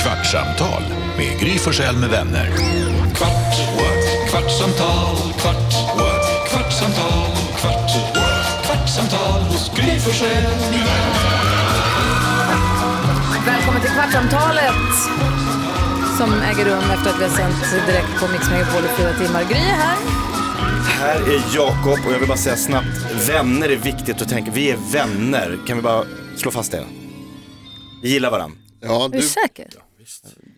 Kvartsamtal med Gry Forssell med vänner. Kvart, what? kvartsamtal, kvart, what? kvartsamtal, kvart, what? kvartsamtal hos Gry Forssell med vänner. Välkommen till Kvartsamtalet som äger rum efter att vi har sänt direkt på Mix Megapol i fyra timmar. Gry är här. Här är Jakob och jag vill bara säga snabbt, vänner är viktigt att tänka. Vi är vänner, kan vi bara slå fast det? Vi gillar varandra. Ja, Är du du, säker?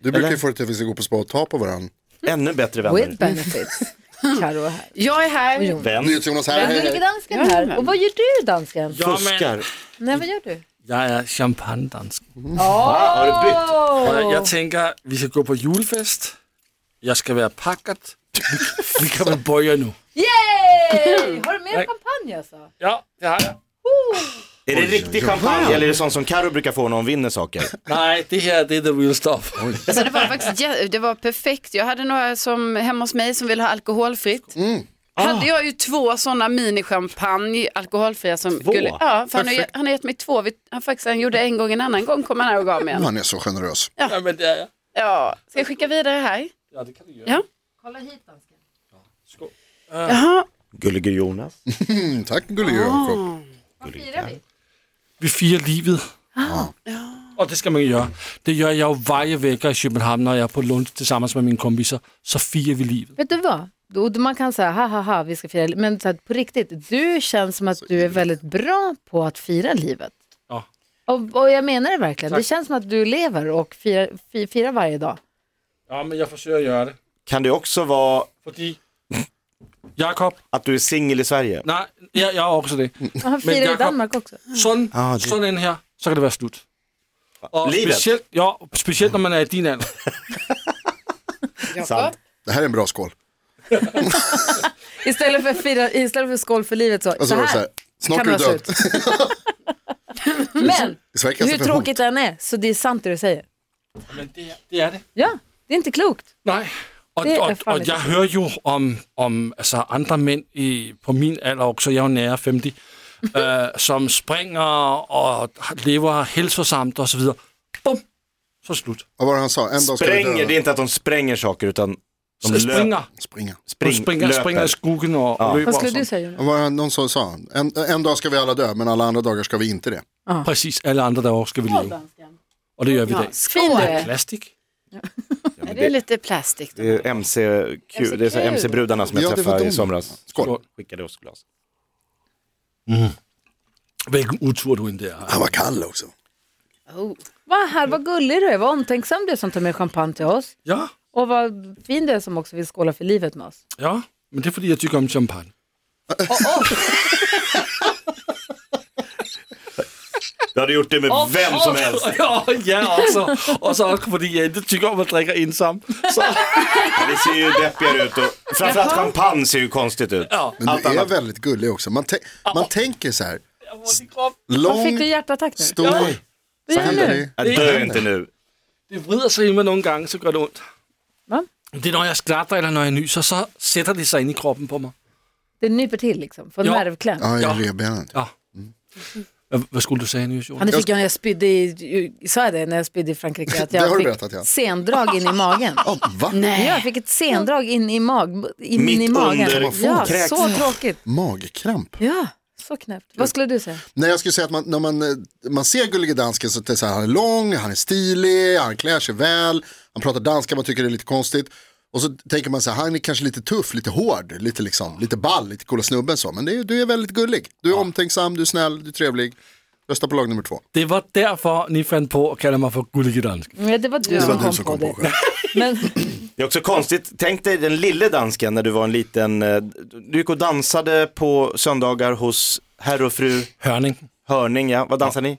du brukar Eller? ju få det till att vi ska gå på spa och ta på varandra. Ännu bättre With vänner. benefits. Karo är här. Jag är här. Jon. Vän, NyhetsJonas här, hej Gullige hej. dansken är här. Och vad gör du dansken? fuskar. Nej, vad gör du? Jag är champagnedansk. Har du bytt? Jag, jag tänker, vi ska gå på julfest. Jag ska vara packad. Vi- Vi kan väl börja nu. Yay! Har du mer champagne alltså? Ja, det har jag. Är det riktig champagne eller är det sånt som Karo brukar få när hon vinner saker? Nej, det här det är the real stuff. Alltså det var faktiskt jä- det var perfekt. Jag hade några som hemma hos mig som ville ha alkoholfritt. Hade jag ju två sådana mini-champagne, alkoholfria som Två? Gulle- Ja, för han, har, ge- han har gett mig två. Vi, han, faktiskt, han gjorde en gång, en annan gång kom han här och gav mig en. Han är så generös. Ja, men det är jag. Ja, ska jag skicka vidare här? Ja, det kan du göra. Ja. Kolla hit dansken. Jaha, Gullige Jonas. Mm, tack gullige Ah. Jakob. Vad firar vi? Vi firar livet. Ah. Och det ska man ju göra. Det gör jag ju varje vecka i Köpenhamn när jag är på lunch tillsammans med mina kompisar. Så firar vi livet. Vet du vad? Då- då Man kan säga ha ha ha, vi ska fira livet. Men så här, på riktigt, du känns som att du är väldigt bra på att fira livet. Ja. Och, och jag menar det verkligen. Det känns som att du lever och firar, fi- firar varje dag. ja, men jag försöker göra det. Kan det också vara Fordi... Jakob? att du är singel i Sverige? Nej, jag, jag är också det. Han firar i Jakob- Danmark också. Sådan, Ah, det- sådan in her, så kan det være slut. Og Livet. specielt, ja, specielt når man er i din alder. Jakob. Sant. Det här är en bra skål. Alltså, Istället för, fira, istället för skål för livet så, Och så så var det här. så här, snart är du Kameran död. Men Sverige kastar hur för hot. tråkigt det än är, så det är sant det du säger. Men det er det. Er det. Ja, det är inte klokt. Nej. Og, Det er og, farligt. og jeg hører jo om, om altså andre mænd i, på min alder også, jeg er jo nære 50, øh, som springer og lever helsesamt og så videre. Bum! Så slut. Vad var det han sa? En dag ska du Spränger, det är dö. inte att de spränger saker utan de Så löper. springer. Springa. Spring, Ah. Spring, springer, löper. springer i skuggen og, og løber Vad og skulle du sådan. säga Jonas? Vad var det han- någon som sa? En, en dag ska vi alla dö, men alla andra dagar ska vi inte det. Præcis, alle andre derovre skal vi leve. Og det gør vi i dag. Fin du är. Plastik. Ja, det är lite plastik. Det är MCQ, det är så här MC-brudarna som jag Ja, det var träffade de. i somras. Skål. Skickade oss glas. Hvilken utur du end der har. Han var kall också. Oh. Vad här, vad gullig du är, vad omtänksam du är som tar med champagne till oss. Ja. Och vad fin du är som också vill skåla för livet med oss. Ja, men det är för att jag tycker om champagne. Du hade gjort det med vem som helst. Ja, ja också. Och så också för att jag inte tycker om att dricka ensam. Så, Det ser ju deppigare ut och framförallt champagne ser ju konstigt ut. ja. Men Allt du är annat. väldigt gullig också. Man, tän- man tänker så här, Vad fick lång, du hjärtattack nu? stor, Ja. vad Vad gör händer du? det? Jag dör inte nu. Det vrider sig i mig någon gång så gör det ont. Va? Det är när jag skrattar eller när jag nyser så sätter det sig in i kroppen på mig. Det nyper till liksom, från Ja. nervkläm. Ja, Ja. i revbenet. Ja. Vad- Vad skulle du säga nu Jonas? Ja, det fick jag när jag spydde i, sa jag det, när jag spydde i Frankrike? Att Det jag har du fick berättat, ja. sendrag in i magen. Ja, va? Ja, jag fick ett sendrag in i, mag, in Mitt i magen. under ja, fotkräks. så tråkigt. Magkramp. Ja, så knäppt. Vad skulle du säga? Nej, jag skulle säga att man, när man, eh, man ser Gullige Dansken så att det är så här, han är lång, han är stilig, han klär sig väl, han pratar danska, man tycker det är lite konstigt. Och så tänker man så här, han är kanske lite tuff, lite hård, lite, liksom, lite ball, lite coola snubben så. Men det är, du är väldigt gullig. Du är omtänksam, du är snäll, du är trevlig. Rösta på lag nummer två. Det var därför ni fann på att kalla mig för gullige dansk. Mm, Ja, det var du, som, kom på det. själv. Men, Det är också konstigt, tänk dig den lille dansken när du var en liten, eh, du gick och dansade på söndagar hos herr och fru Hörning. Hörning, ja. Vad dansade ni?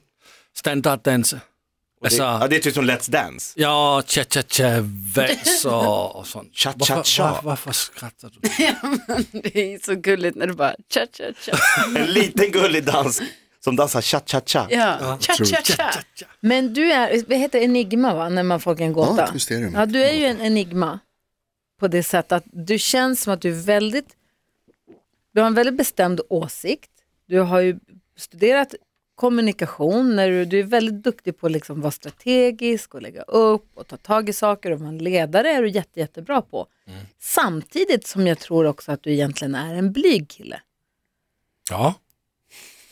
Standarddanse. Det, ja, Alltså, det är typ som Let's Dance. ja, cha-cha-cha-vals och, och sånt. Cha-cha-cha. Varför, var, varför skrattar du? Det är så gulligt när du bara cha cha cha. En liten gullig dans som dansar cha-cha-cha. Ja, cha cha cha. men du är, vad heter det, enigma va, när man får en gåta? ett mysterium. Ja, du är ju en enigma på det sättet att du känns som att du är väldigt, du har en väldigt bestämd åsikt. Du har ju studerat kommunikation, när du, du är väldigt duktig på att liksom vara strategisk och lägga upp och ta tag i saker och vara en ledare är du jätte, jättebra på. Samtidigt som jag tror också att du egentligen är en blyg kille. Ja.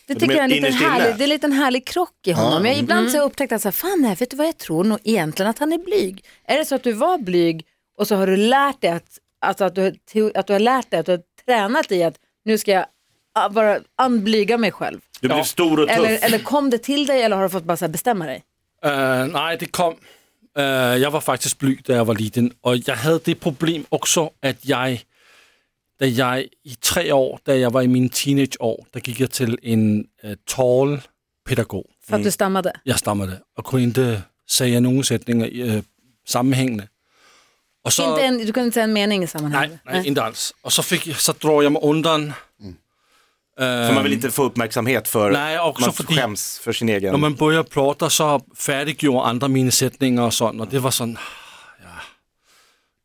Det Du tycker menar jag är en liten innerst inne? härlig, det är en liten härlig krock i honom. Jag, ibland Mm. så har jag upptäckt att så här, fan nej, vet du vad jag tror nog egentligen att han är blyg. Är det så att du var blyg och så har du lärt dig att, alltså att, du, har te- att du har lärt dig, att du har tränat i att nu ska jag ah, bara anblyga mig själv. Du blev stor och tuff. Eller, eller kom det till dig eller har du fått bara så här bestämma dig? Øh, nej, det kom. Øh, jeg var faktisk blyg, da jeg var liten, og jeg havde det problem også, at jeg, da jeg i tre år, da jeg var i mine teenageår, der gik jeg til en øh, tall pædagog. För Mm. att du stammade? Jeg stammede, og kunne ikke sige nogen sætninger øh, sammenhængende. Og så, Inte en, du kunde inte säga en mening i sammanhanget? nej, nej, ikke alls. Og så, fik, jeg- så drog jeg mig undan. För man vill inte få uppmärksamhet för, Nej, också man fordi- skäms för sin egen. Når man bøjer plotter, så færdiggjorde andre mine sætninger og sådan, og det var sådan,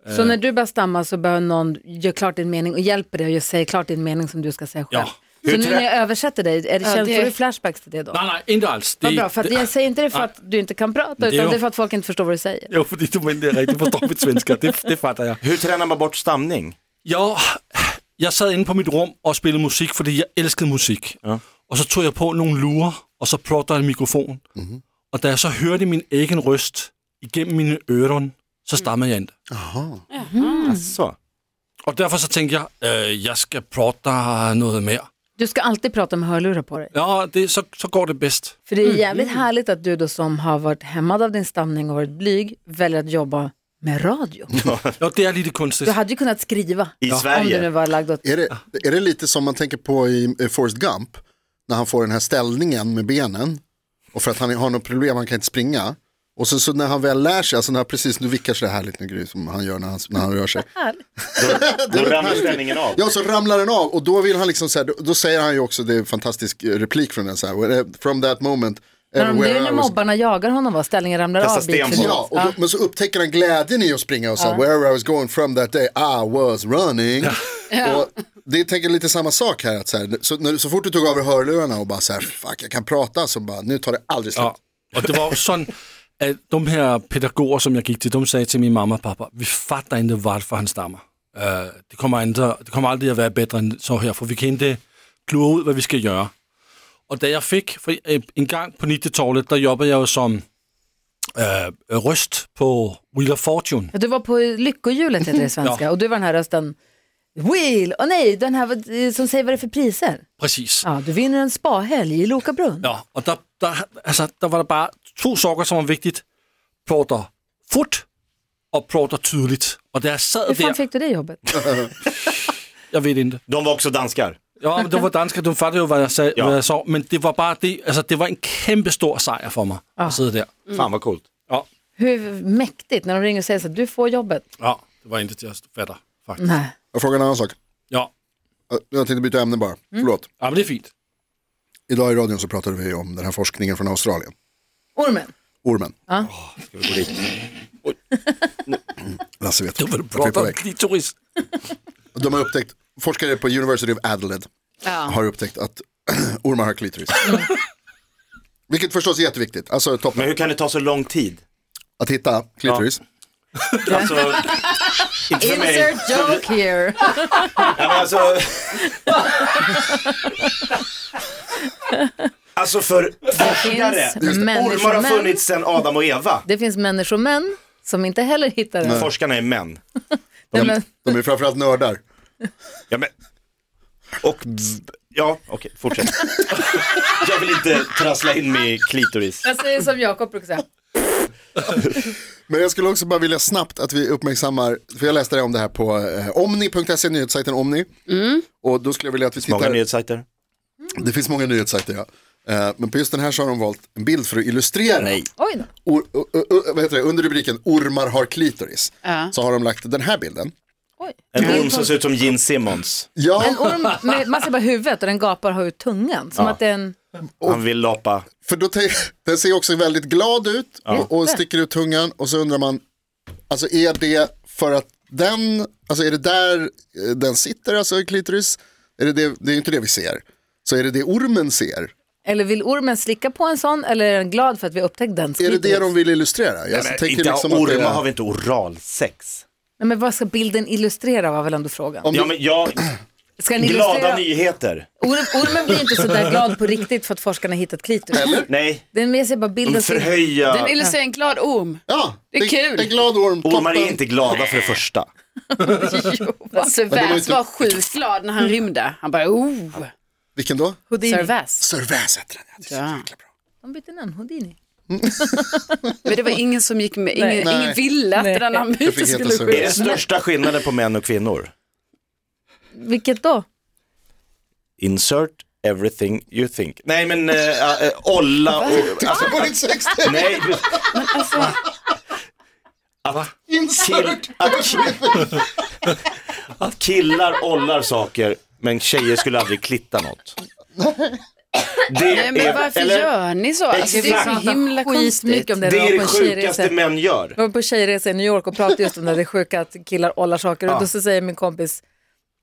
Eh. Så när du börjar stamma så behöver någon göra klart din mening och hjälper dig och säga klart din mening som du ska säga själv. Ja. Så Hur nu trä- när jeg översätter dig, är det, Ja, känns, det- får du flashbacks till det då? nej, nej, ikke alls. Vad bra, för att jag säger inte det för att du inte kan prata är utan ju- det är för att folk inte förstår vad du säger. Jo, fordi du mente, jeg rigtig forstår mit svensker. Det, det fatter jeg. Hur tränar man bort stamning? Jo, jeg sad inde på mit rum og spillede musik, fordi jeg elskede musik. Ja. Og så tog jeg på nogle lurer, og så plotter jeg en mikrofon. Mm-hmm. Og da jeg så hørte min egen røst igennem mine ører, så stammede jeg ikke. Så. Og derfor så tænkte jeg, øh, jeg skal plotte noget mere. Du ska alltid prata med hörlurar på dig. Ja, det, så, så går det bedst. För det är jävligt härligt att du då som har varit hämmad av din stamning och varit blyg väljer att jobba med radio. Jo, det er lige det Du kunstigste. hade ju kunnat skriva I om du nu Sverige. var lagd åt... Är det, är det lite som man tänker på i eh, Forrest Gump? När han får den här ställningen med benen. Och för att han har något problem, han kan inte springa. Och sen så när han väl lär sig, alltså när han precis nu vickar så det här lite nu, Gry, som han gör när han, när han rör sig. Då ramlar stämningen av. Ja, så ramlar den av och då vill han liksom så här, då, då säger han ju också, det är en fantastisk eh, replik från den så här, "Where- from that moment. När de- Det är everywhere ju när I was-" mobbarna jagar honom va? Ställningen ramlar Kasta av bit sten för på bit. Ja, och då, men så upptäcker han glädjen i att springa och så här, wherever I was going from that day, I was running. Och det är, tänker lite samma sak här, att så, här så, när, så fort du tog av dig hörlurarna och bara så här, fuck jag kan prata, så bara, nu tar det aldrig slut. Ja. Og det var jo sådan, at de her pædagoger, som jeg gik til, de sagde til min mamma og pappa, vi fatter ikke, hvorfor han stammer. Uh, det, kommer ikke, det kommer aldrig at være bedre end så her, for vi kan ikke klure ud, hvad vi skal gøre. Og da jeg fik, for øh, en gang på 90 der jobbede jeg jo som øh, røst på Wheel of Fortune. Ja, Du var på lyckohjulet heter det i svenska Ja. och du var den här rösten Wheel, åh nej, den här eh, som säger vad det är för priser. Præcis. Ja, du vinner en spahelg i Lokabrunn. Ja, og der, der, altså, der var der bare to sokker, som var vigtigt. Plotter fut og plotter tydeligt. Og da jeg sad Hur fan der, fick du det jobbet? jeg ved det ikke. De var också danskar. Ja, men det var dansker, du fattede jo, hvad jeg, sag, Ja. ja. hvad jeg så, men det var bare det, altså det var en kæmpe stor sejr for mig at sidde der. Fan vad coolt. Ja, Hur mäktigt när de ringer och säger så här, du får jobbet. ja det var intet, jeg fatter, faktisk. Nej. Jag frågar en annan sak, Ja, jag tänkte byta ämne bara, Mm. förlåt. Mm. ja men det er fint. Idag i radion så pratade vi om den här forskningen från Australien, Ormen. ormen. Ska vi gå dit? Lasse vet. Det var Vart vi är på väg. det klitoris. De har upptäckt, forskare på University of Adelaide har upptäckt att ormar har klitoris. Vilket förstås är jätteviktigt, alltså toppen. Men hur kan det ta så lång tid? Att hitta klitoris. Alltså, inte för mig. Insert joke here. Ja, men alltså... alltså för forskare. finns människor- Ormar har funnits sedan Adam och Eva. Det finns människomän som inte heller hittar det. Forskarna är män. Nej, men, De är framförallt nördar. Ja, men... Och... Ja, okej, fortsätt. Jag vill inte trassla in mig i klitoris. jag säger som Jakob brukar säga. Men jag skulle också bara vilja snabbt att vi uppmärksammar, för jag läste det om det här på eh, omni.se, nyhetssajten Omni. Och då skulle jag vilja att vi Många tittar, nyhetssajter. det finns många nyhetssajter ja. Eh, Men på just den här så har de valt en bild för att illustrera. Nej. Oj då. Or, o- o- o- vad heter det? Under rubriken ormar har klitoris. Ja. Så har de lagt den här bilden. Oj. En orm som ser ut som Gene Simmons. Ja, En orm, med, man ser bara huvudet och den gapar och har ut tungan. Som att det är en... Han vill lapa. För då te- den ser också väldigt glad ut och, och sticker ut tungan och så undrar man, alltså är det för att den, alltså är det där eh, den sitter, alltså klitoris? Är det, det, det är ju inte det vi ser. Så är det det ormen ser? Eller vill ormen slicka på en sån? Eller är den glad för att vi upptäckte den? Är det det Skitvis. de vill illustrera? Jag Men tänker inte liksom att det ormar är- har vi inte oralsex? Nej, men vad ska bilden illustrera var väl ändå frågan. Om Ja du- men jag, Ska den glada illustrera? nyheter. Orm, ormen blir inte så där glad på riktigt för att forskarna hittat klitoris. Nej, Den med sig bara de bilden. som- Den förhöja. ville se en glad orm. Ja, Det är kul. En glad orm. Ormar toppen. är inte glada för det första. Sir var Vass inte- var sjukt glad när han rymde. Han bara oh, Vilken då? Sir Houdini. Vass. Sir Vass heter den. Ja, det är Ja. så jäkla bra. De bytte namn, Houdini. Men det var ingen som gick med, ingen, Nej. ingen ville att Nej. det där Jag fick namnbytet heta skulle Sir ske. Är det största skillnaden på män och kvinnor? Vilket då? Insert everything you think. Nej men, eh, eh, Olla och... Alltså, Var det inte sex? nej, alltså- Insert. Kill, att, ki- att killar ollar saker men tjejer skulle aldrig klitta något. Det Nej, men varför gör ni så? Alltså, det är Exakt. så himla konstigt. Skitmycket om det. Det Jag är var det på en sjukaste tjejresa- män gör. Jag var på tjejresa i New York och pratade just om det, här, det sjuka att killar ollar saker. Och då så säger min kompis,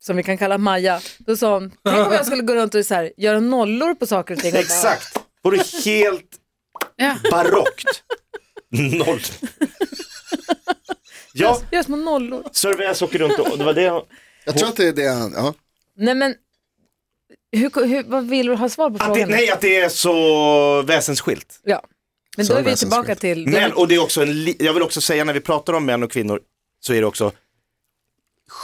som vi kan kalla Maja, då sa hon, tänk om jag skulle gå runt och så här, göra nollor på saker och ting. Och bara, Exakt, vore helt Ja. barockt. Noll. Ja, Gör små nollor. Sörväs åker runt och det var det jag- Jag tror att det är det han, ja. Nej men, hur, hur, vad vill du ha svar på att det, frågan? Nej, att det är så väsensskilt. Ja. Men Så då är det vi är så tillbaka skönt. till, Men, och det är också en, li- jag vill också säga när vi pratar om män och kvinnor så är det också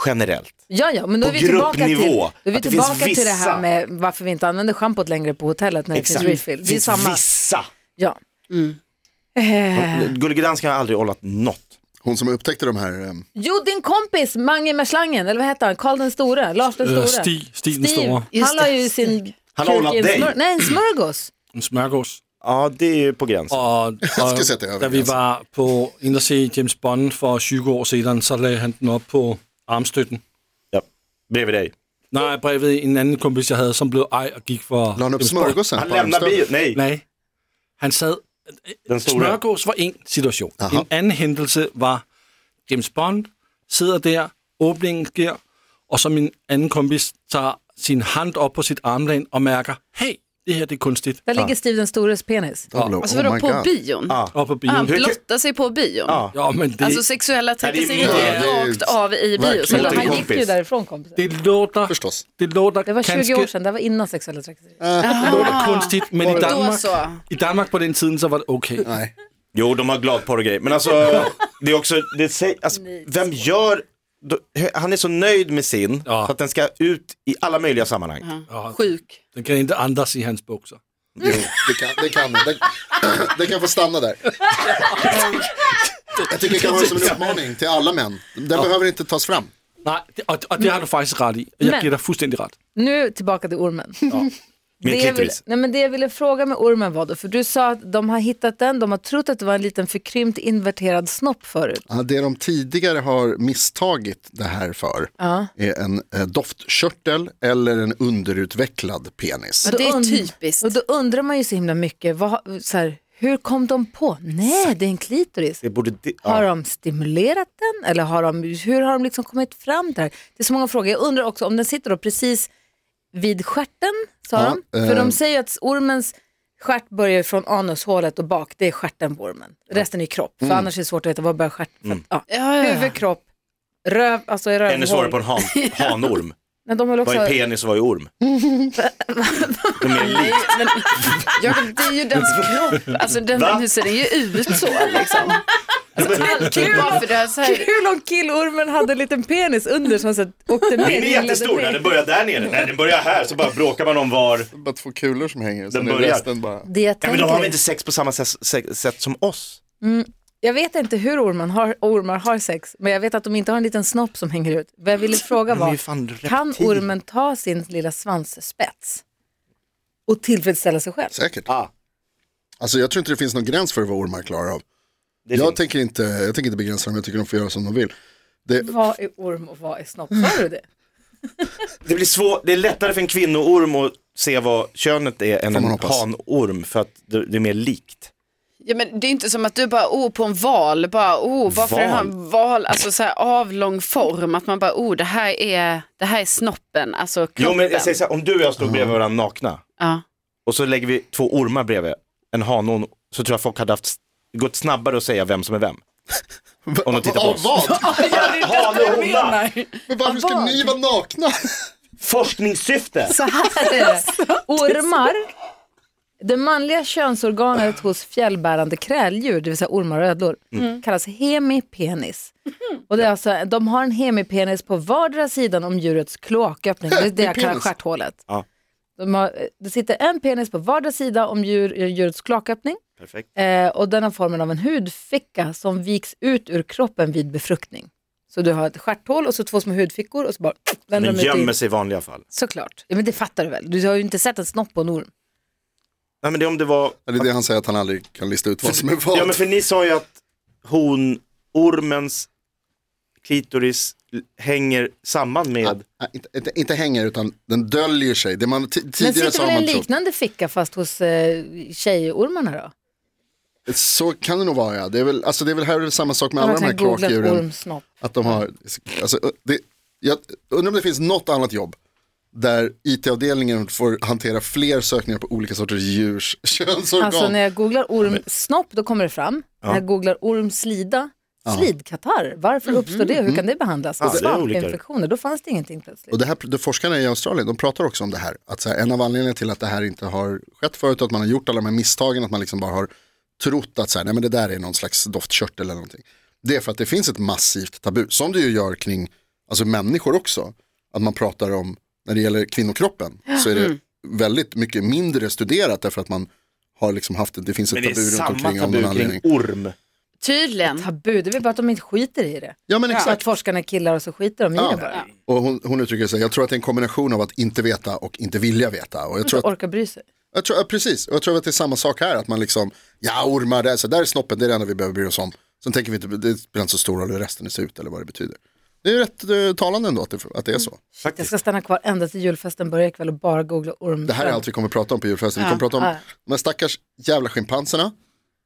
generellt. ja, ja, men då är vi på tillbaka till, gruppnivå, då är vi att det finns tillbaka till det vissa- här med varför vi inte använder schampot längre på hotellet när det Exakt. finns refill. Det är finns samma. vissa. Ja. Eh. Gullige Dansken har aldrig ollat något. Hon som upptäckte de här, ehm, Jo, din kompis Mange med slangen, eller vad hette han? Karl den store? Lars den Øh, store? Stig, Stig den Steve, Store, han la ju sin Han har kuk hållat i en dig. smör- Nej, en smörgås. en smørgås. Ja, det är ju på gränsen. Og, og skal sætte det op da vi igen, så. var på ind og se James Bond for 20 år siden, så lagde han den op på armstøtten. Ja. Bredvid dig. Nej, brevet en anden kompis, jeg havde, som blev ej og gik for... la han upp James Bond. smörgåsen? Han på lämnar armstödet? bilen. Nej. Nej. Han sad... Den store. Smørgås var en situation. Aha. En anden hændelse var, James Bond sidder der, åbningen sker, og så min anden kompis tager sin hand op på sit armlæn og mærker, hey, det her det er kunstigt. Där ligger Steve den stores penis. Pablo, Alltså oh vadå, my på god. bion? Ja. Ah. Op på bilen. Han Ah. blottar sig på bion. Ja. Ja, men det, Alltså sexuella det är trakasserier mycket. Ja, det är ju rakt av i bio. verkligen Så inte han- Han kompis. gick ju därifrån kompisen. det låter... Förstås. Det låter Det var 20 ganske, år sedan, det var innan sexuella trakasserier. Det Ah. låter kunstigt, men i Då Danmark, så. i Danmark på den tiden, så var det okay. Nej. Jo, de har gladporr och grejer. Men alltså, det är også, det säg, alltså vem gör, då- han är så nöjd med sin, Ja. så att den ska ut i alla möjliga sammanhang. Sjuk. Den kan inte andas i hans bukser. Jo, det kan, det kan den. Den- Den kan få stanna där. Jag tycker det kan vara som en uppmaning till alla män. Den behöver inte tas fram. Nej, det, og, og det har du faktisk ret i. Og jeg Men- giver dig fuldstændig ret. Nu tillbaka till ormen. Min Det jag, ville, klitoris. nej men det jag ville fråga med ormen var då, för du sa att de har hittat den, de har trott att det var en liten förkrympt inverterad snopp förut. Ja, det de tidigare har misstagit det här för är en eh, doftkörtel eller en underutvecklad penis. Ja, det är Und- typiskt. Och då undrar man ju så himla mycket, vad, så här, hur kom de på? Nej, det är en klitoris. Det borde, di- Har ja. de stimulerat den eller har de, hur har de liksom kommit fram där? Det är så många frågor. Jag undrar också om den sitter då precis vid stjärten, sa Ja, de? eh. För de säger ju att ormens stjärt börjar från anushålet och bak, det är stjärten på ormen. Resten är kropp, Mm. för annars är det svårt att veta var börjar stjärt. för att- Ja. Ja, ja, ja. Huvud, kropp, röv, alltså är Ännu svårare på en rövhål. han, hanorm. Men de har väl Vad är också... penis och vad är orm? De är lika. Jakob, det är ju dens kropp. Alltså den, Va? nu ser den ju ut så liksom. Alltså, alltid bara för det här, så här. Kul om killormen hade en liten penis under som så att åkte med. Den är jättestor, när den börjar där nere. Nej, den börjar här, så bara bråkar man om var. Bara två kulor som hänger, Den är börjar. resten bara... Det jag, Ja, men de har väl tänker, inte sex på samma sätt, se- sätt som oss? jag vet inte hur ormen har, ormar har sex, men jag vet att de inte har en liten snopp som hänger ut. Vad jag ville fråga De är ju var, fan reptil. kan ormen ta sin lilla svansspets och tillfredsställa sig själv? Säkert. Ah, Alltså jag tror inte det finns någon gräns för vad ormar klarar av. det är Jag fint. tänker, inte, jag tänker inte begränsa dem, jag tycker de får göra som de vill. Det, Vad är orm och vad är snopp? Hör du det? Det blir svårt, det är lättare för en kvinnoorm att se vad könet är än Får en man hoppas. hanorm för att det, det är mer likt. Ja, men det är inte som att du bara, oh, på en val, bara, oh, varför Val? har han val, alltså så här avlång form, att man bara, oh, det här är, det här är snoppen, alltså kroppen. Jo men jag säger så här, om du och jag stod bredvid varandra nakna ja. och så lägger vi två ormar bredvid, en hane och en, så tror jag folk hade haft, gått snabbare att säga vem som är vem. Om de tittar på Av oss. vad? Hane och ormar! Men varför ska ni vara nakna? Forskningssyfte! Så här är det. Ormar, det manliga könsorganet hos fjällbärande kräldjur, det vill säga ormar och ödlor, kallas hemipenis. Och det är alltså, de har en hemipenis på vardera sidan om djurets kloaköppning, det är det jag kallar Hemipenis. stjärthålet. Ja. De har, det sitter en penis på vardera sida om djur, djurets kloaköppning Perfekt. eh, och den har formen av en hudficka som viks ut ur kroppen vid befruktning. Så du har ett stjärthål och så två små hudfickor och så bara vänder Den de ut i- gömmer sig i vanliga fall. Såklart. Ja, men det fattar du väl? Du har ju inte sett en snopp på en orm. Nej men det är om det var Ja, Det är det han säger att han aldrig kan lista ut vad som är vad. Ja men för ni sa ju att hon, ormens klitoris l- hänger samman med, Nej, inte, inte, inte hänger utan den döljer sig. Det man, ti- Den sitter tidigare sa väl i en man trott. liknande ficka fast hos eh, tjejormarna då? Så kan det nog vara ja. Det är väl, alltså, det är väl här är det samma sak med Jag alla har de här verkligen googlat kloakdjuren. ormsnopp. Att de har, alltså, det, jag undrar om det finns något annat jobb där it-avdelningen får hantera fler sökningar på olika sorters djurs könsorgan. Alltså när jag googlar ormsnopp då kommer det fram. När jag googlar ormslida, slidkatarr, Mhm. varför uppstår det? Hur kan det behandlas? Ja, det är Svampinfektioner, då fanns det ingenting plötsligt. Och det här, de forskarna i Australien, de pratar också om det här. Att så här, en av anledningarna till att det här inte har skett förut, att man har gjort alla de här misstagen, att man liksom bara har trott att så här, nej men det där är någon slags doftkörtel eller någonting. Det är för att det finns ett massivt tabu, som det ju gör kring alltså människor också. Att man pratar om, när det gäller kvinnokroppen, så är det väldigt mycket mindre studerat därför att man har liksom haft, det finns men ett det är tabu runt samma omkring av tabu någon kring anledning. orm. Tydligen. Tabu, det är väl bara att de inte skiter i det. Ja men Så att exakt. forskarna är killar och så skiter de i det bara. Och hon, hon uttrycker sig, jag tror att det är en kombination av att inte veta och inte vilja veta. Och jag tror Inte att orkar bry sig. Jag tror, ja, precis, och jag tror att det är samma sak här, att man liksom, ja ormar, där, så där är snoppen, det är det enda vi behöver bry oss om. Sen tänker vi inte, det spelar inte så stor roll hur resten ser ut eller vad det betyder. Det är ju rätt eh, talande ändå att det, att det är Mm. så. Jag Faktiskt. ska stanna kvar ända till julfesten börjar ikväll och bara googla orm. Det här är allt vi kommer att prata om på julfesten. Vi kommer att prata om ja. de här stackars jävla schimpanserna.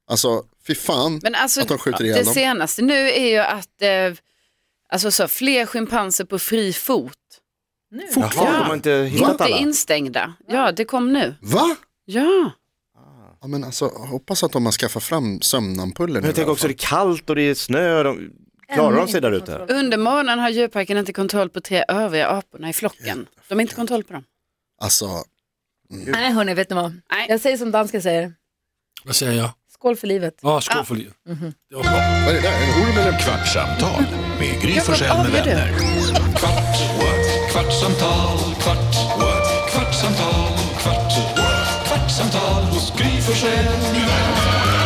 Alltså, fy fan Men alltså, att de skjuter det ihjäl dem. senaste nu är ju att eh, alltså så, fler schimpanser på fri fot. Fortfarande, de har inte hittat Inte alla. instängda. Ja, det kom nu. Va? Ja. Ja, men alltså, jag hoppas att de har skaffat fram sömnampuller nu. Men jag tänker i också, alla det är kallt och det är snö, de, klarar de sig där ute? Under morgonen har djurparken inte kontroll på tre övriga aporna i flocken. De har inte kontroll på dem. fall. Alltså, Nej hörni, vet ni vad? Nej. Jag säger som dansken säger, Vad säger jag? skål för livet. Åh, skål för livet. Mhm. Det var bra. vad är det där? Är det orm eller? Kvartsamtal med Gry Ja, vad Forssell med avgör du? vänner. Kvart, what? kvartsamtal, kvart, what? kvartsamtal, kvart, what? kvartsamtal hos Gry Forssell med vänner.